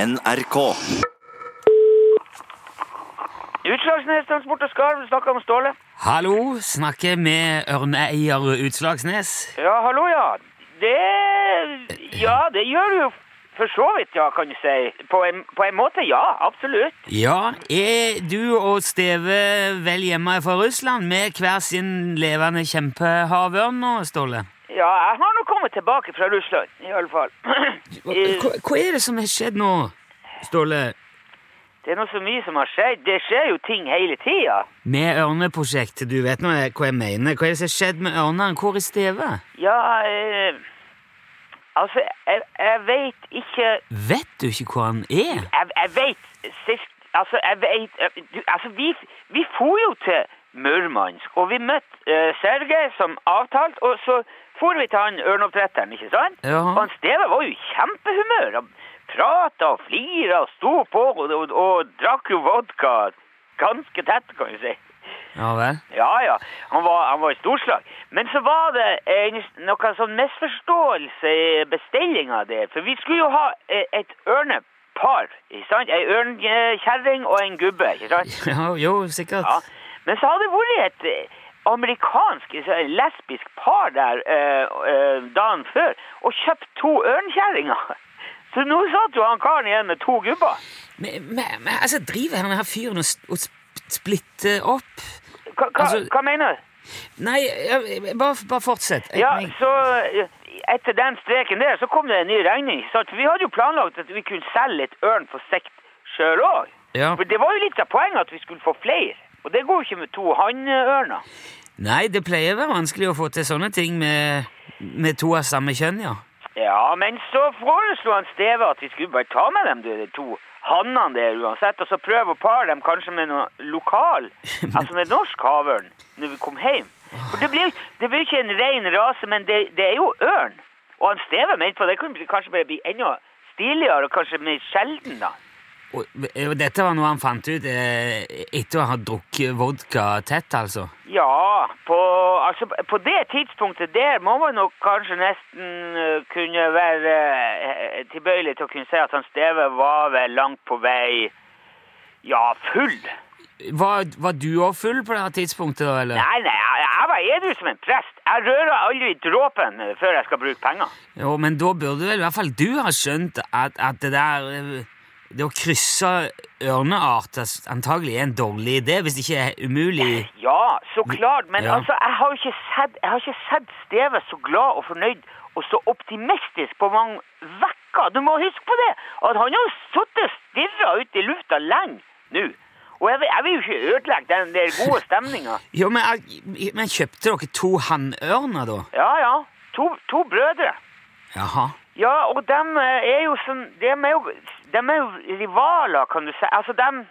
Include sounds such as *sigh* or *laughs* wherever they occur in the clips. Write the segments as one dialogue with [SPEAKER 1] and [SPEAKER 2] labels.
[SPEAKER 1] NRK.
[SPEAKER 2] Utslagsnes Transport og Skarv, du snakker om Ståle.
[SPEAKER 3] Hallo, snakker med ørneeier Utslagsnes.
[SPEAKER 2] Ja, hallo, ja. Det Ja, det gjør du jo for så vidt, ja, kan du si. På en, på en måte, ja. Absolutt.
[SPEAKER 3] Ja, er du og Steve vel hjemme fra Russland med hver sin levende kjempehavørn nå, Ståle?
[SPEAKER 2] Ja, jeg har nå kommet tilbake fra Russland, i alle fall. *clears throat*
[SPEAKER 3] Hva,
[SPEAKER 2] Eh.
[SPEAKER 3] hva hva er det som har skjedd nå, Ståle,
[SPEAKER 2] Det er nå så mye som har skjedd. Det skjer jo ting hele tida.
[SPEAKER 3] med ørneprosjektet? Du vet nå eh, hva jeg mener. Hva er det som har skjedd med ørnene? Hvor er Steve?
[SPEAKER 2] Ja, eh, Altså, jeg, jeg veit ikke
[SPEAKER 3] Vet du ikke hvor han er?
[SPEAKER 2] Jeg, jeg veit sist Altså, jeg veit eh, du, Altså, vi, vi for jo til Murmansk, og vi møtte uh, Sergej som avtalt, og så for vi til han ørneoppdretteren, ikke sant?
[SPEAKER 3] Ja.
[SPEAKER 2] Og han Steve var jo i kjempehumør. Han prata og flira og sto på og, og, og drakk jo vodka ganske tett, kan du si.
[SPEAKER 3] Ja vel. *laughs*
[SPEAKER 2] Ja, ja. Han var, han var i storslag. Men så var det en, noe sånn misforståelse i bestillinga der. For vi skulle jo ha eh, et ørnepar. ikke sant? Ei ørnkjerring og en gubbe. ikke sant?
[SPEAKER 3] Ja, jo, sikkert.
[SPEAKER 2] Ja. Men så hadde det vært et eh, amerikansk altså, lesbisk par der eh, eh, dagen før og kjøpt to ørnkjerringer. *laughs* Så nå satt jo han karen igjen med to gubber.
[SPEAKER 3] Men, men, men altså, driver han her fyren og, s- og sp- splitter opp?
[SPEAKER 2] Hva, hva,
[SPEAKER 3] Altså-
[SPEAKER 2] hva mener du?
[SPEAKER 3] Nei, jeg- jeg- bare, bare fortsett. Jeg-
[SPEAKER 2] Ja,
[SPEAKER 3] jeg-
[SPEAKER 2] så eh, etter den streken der, så kom det en ny regning. ikke sant? For vi hadde jo planlagt at vi kunne selge litt ørn på sikt sjøl òg.
[SPEAKER 3] Ja.
[SPEAKER 2] For det var jo litt av poenget at vi skulle få flere. Og det går jo ikke med to hannørner.
[SPEAKER 3] Nei, det pleier å være vanskelig å få til sånne ting med, med to av samme kjønn, ja.
[SPEAKER 2] Ja, men så foreslo han Steve at vi skulle bare ta med dem, du, de to hannene der uansett, og så prøve å pare dem kanskje med noe lokal, altså med norsk havørn, når vi kom hjem. For det blir, det blir ikke en ren rase, men det, det er jo ørn. Og han Steve mente på det kunne bli- kanskje bare bli enda stiligere, og kanskje mer sjelden da.
[SPEAKER 3] Og, og dette var noe han fant ut eh, etter å ha drukket vodka tett, altså.
[SPEAKER 2] Ja, på, altså, på det tidspunktet der må man nok kanskje nesten øh, kunne være øh, tilbøyelig til å kunne si at han Steve var vel langt på vei ja, full.
[SPEAKER 3] Var, var du òg full på det her tidspunktet, da, eller?
[SPEAKER 2] Nei, nei, jeg, jeg var edru som en prest. Jeg rører aldri dråpen øh, før jeg skal bruke penger.
[SPEAKER 3] Jo, men da burde vel i hvert fall du ha skjønt at, at det der eh, Det å krysse ørneart ass, antagelig er en dårlig idé, hvis det ikke er umulig.
[SPEAKER 2] Ja, så klart, men
[SPEAKER 3] Ja.
[SPEAKER 2] altså, jeg har jo ikke sett, jeg har ikke sett Steve så glad og fornøyd og så optimistisk på mange vekker. Du må huske på det, at han har jo suttet og stirret ut i lufta lenge nå. Og jeg, vil- jeg vil jo ikke ødelegge den der gode stemninga.
[SPEAKER 3] Jo, men, eh, men kjøpte dere to hannørner, da?
[SPEAKER 2] Ja, ja. To, to brødre.
[SPEAKER 3] Jaha.
[SPEAKER 2] Ja, og dem eh, er jo sånn Dem er jo, dem er jo rivaler, kan du si. Altså, dem,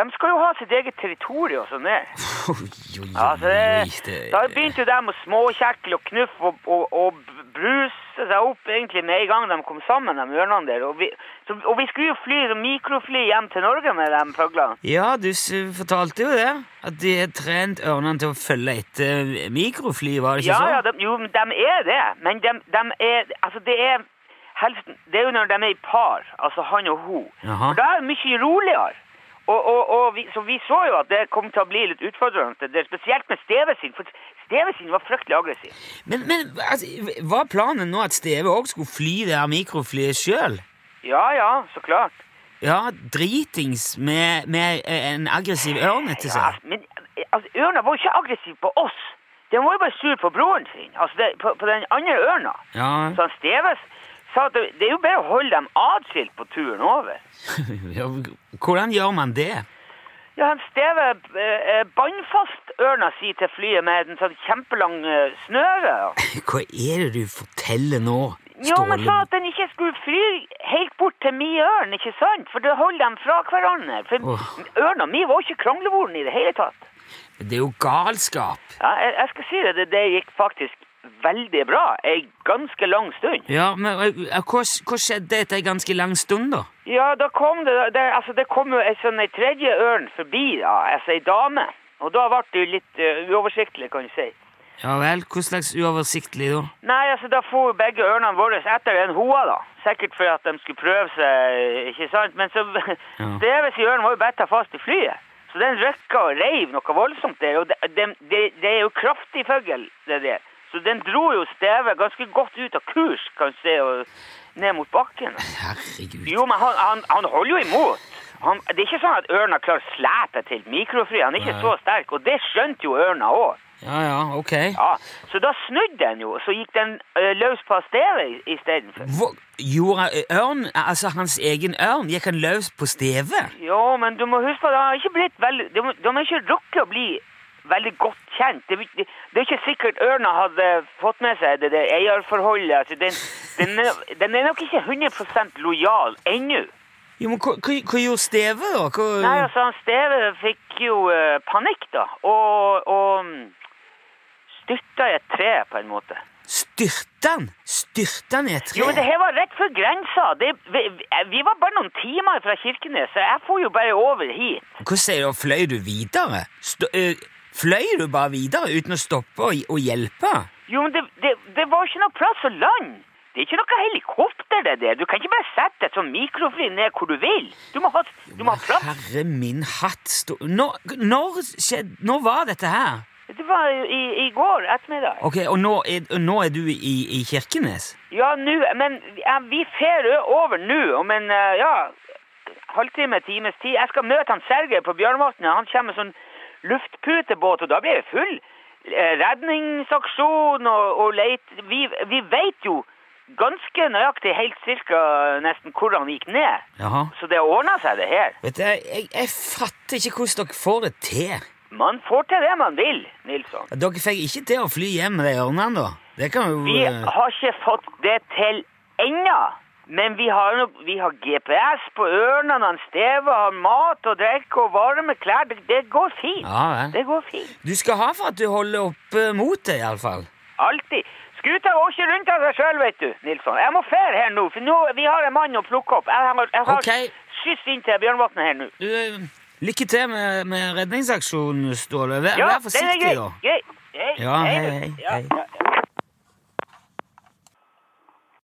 [SPEAKER 2] dem skal jo ha sitt eget territorium og sånn der.
[SPEAKER 3] Oi, oi, oi,
[SPEAKER 2] Ja, altså, det,
[SPEAKER 3] det-
[SPEAKER 2] da begynte jo de å småkjekle og knuffe og, og, og bruse seg opp egentlig med en gang de kom sammen, de ørnene der. Og vi, så, og vi skulle jo fly som mikrofly hjem til Norge med de fuglene.
[SPEAKER 3] Ja, du s- fortalte jo det. At de har trent ørnene til å følge etter mikrofly, var det ikke
[SPEAKER 2] Ja,
[SPEAKER 3] sånn?
[SPEAKER 2] ja, de, jo, men de er det. Men de, de er Altså, det er helst, Det er jo når de er i par, altså han og hun.
[SPEAKER 3] Jaha.
[SPEAKER 2] For da er det mye roligere. Og, og, og vi, så vi så jo at det kom til å bli litt utfordrende, det der, spesielt med Steve sin. For Steve sin var fryktelig aggressiv.
[SPEAKER 3] Men, men altså, var planen nå at Steve òg skulle fly det her mikroflyet sjøl?
[SPEAKER 2] Ja ja, så klart.
[SPEAKER 3] Ja, dritings med, med eh, en aggressiv ørn etter
[SPEAKER 2] Ja,
[SPEAKER 3] seg.
[SPEAKER 2] men altså, ørna var jo ikke aggressiv på oss. Den var jo bare sur på broren sin, altså det, på, på den andre ørna.
[SPEAKER 3] Ja, *laughs*
[SPEAKER 2] Så han Steves sa at det det er jo bedre å holde dem atskilt på turen over.
[SPEAKER 3] ja Hvordan gjør man det? *laughs*
[SPEAKER 2] Ja, han Steve eh, eh, bannfast ørna si til flyet med en sånn kjempelang eh, snøre.
[SPEAKER 3] Hva er det du forteller nå,
[SPEAKER 2] Jo, men sa
[SPEAKER 3] Ståle?
[SPEAKER 2] at den ikke skulle fly helt bort til mi ørn, ikke sant? For det holder dem fra hverandre. For
[SPEAKER 3] Åh.
[SPEAKER 2] ørna mi var jo ikke kranglevoren i det hele tatt.
[SPEAKER 3] Det er jo galskap.
[SPEAKER 2] Ja, jeg, jeg skal si det, det, det gikk faktisk veldig bra. Ei ganske lang stund.
[SPEAKER 3] Ja, men eh, hva, hva skjedde etter en ganske lang stund, da?
[SPEAKER 2] Ja, da kom det, det altså det kom jo ei sånn ei tredje ørn forbi, da, altså ei dame. Og da ble det jo litt eh, uoversiktlig, kan du si.
[SPEAKER 3] Ja vel, hva slags uoversiktlig da?
[SPEAKER 2] Nei, altså da for begge ørnene våre etter den hoa, da. Sikkert for at de skulle prøve seg, ikke sant? Men så *laughs* Steves i ørnen var jo bare ta fast i flyet. Så den røkka og reiv noe voldsomt der. Og det, det, det, det er jo kraftig fugl, det der. Så den dro jo Steve ganske godt ut av kurs, kan du se, og ned mot bakken.
[SPEAKER 3] Herregud.
[SPEAKER 2] Jo, men han, han, han holder jo imot. Han, det er ikke sånn at ørna klarer å slepe til mikrofri. Han er ikke
[SPEAKER 3] Nei.
[SPEAKER 2] så sterk, og det skjønte jo ørna òg.
[SPEAKER 3] Ja ja, ok.
[SPEAKER 2] Ja, så da snudde den jo, så gikk den eh, løs på stedet istedenfor.
[SPEAKER 3] Hvor, gjorde ørn, altså hans egen ørn, gikk han løs på Steve?
[SPEAKER 2] Jo, men du må huske på, de har ikke blitt veldig, de, må- de har ikke rukket å bli veldig godt kjent. Det, det, det er ikke sikkert ørna hadde fått med seg det der eierforholdet. Altså, den, den, er, den er nok ikke 100 lojal ennå.
[SPEAKER 3] Jo, men hva, hva, hva gjorde Steve, da? Hva,
[SPEAKER 2] Nei, altså, han Steve fikk jo eh, panikk, da, og, og mm, styrta i et tre, på en måte.
[SPEAKER 3] Styrte han? Styrte han i et tre?
[SPEAKER 2] altså- Jo, men det her var rett før grensa. Det, vi, vi- vi var bare noen timer fra Kirkenes, så jeg for jo bare over hit.
[SPEAKER 3] Hva sier du, fløy du videre? Sto, ø, fløy du bare videre uten å stoppe og, og hjelpe?
[SPEAKER 2] Jo, men det, det, det var ikke noe plass å lande. Det er ikke noe helikopter, det der. Du kan ikke bare sette et sånt mikrofly ned hvor du vil. Du må ha, du må ha plass.
[SPEAKER 3] Herre min hatt sto, når, når, skjedde, når var dette her?
[SPEAKER 2] Det var jo i, i går ettermiddag.
[SPEAKER 3] Ok, Og nå er, og nå er du i, i Kirkenes?
[SPEAKER 2] Ja, nå Men ja, vi fer ø- over nå om en eh, ja, halvtime, times tid. Jeg skal møte han Sergej på Bjørnvatnet. Han kommer med sånn luftputebåt, og da blir det full eh, redningsaksjon og, og leit. Vi, vi veit jo ganske nøyaktig helt cirka nesten hvor han gikk ned.
[SPEAKER 3] Jaha.
[SPEAKER 2] Så det ordna seg, det her.
[SPEAKER 3] Vet du, jeg, jeg fatter ikke hvordan dere får det til.
[SPEAKER 2] Man får til det man vil, Nilsson.
[SPEAKER 3] At Dere fikk ikke til å fly hjem med de ørnene, da? Det kan jo
[SPEAKER 2] Vi
[SPEAKER 3] eh,
[SPEAKER 2] har ikke fått det til ennå. Men vi har, nok- vi har GPS på ørnene, han Steve har mat og drikke og varme klær. Det, det går fint.
[SPEAKER 3] Ja vel.
[SPEAKER 2] Det går fint.
[SPEAKER 3] Du skal ha for at du holder eh, oppe motet, iallfall.
[SPEAKER 2] Alltid. Skuta går ikke rundt av seg sjøl, vet du, Nilsson. Jeg må fære her nå, for nå, vi har en mann å plukke opp. Jeg har, jeg har
[SPEAKER 3] Ok.
[SPEAKER 2] skyss inn til Bjørnvatnet her nå.
[SPEAKER 3] eh, Lykke til med, med redningsaksjonen, Ståle. Vær, vær
[SPEAKER 2] den er
[SPEAKER 3] forsiktig,
[SPEAKER 2] grei.
[SPEAKER 3] da.
[SPEAKER 2] Grei. Hei,
[SPEAKER 3] Ja,
[SPEAKER 2] hei,
[SPEAKER 3] hei,
[SPEAKER 2] du.
[SPEAKER 3] hei,
[SPEAKER 2] Ja,
[SPEAKER 3] hei.
[SPEAKER 2] ja, ja.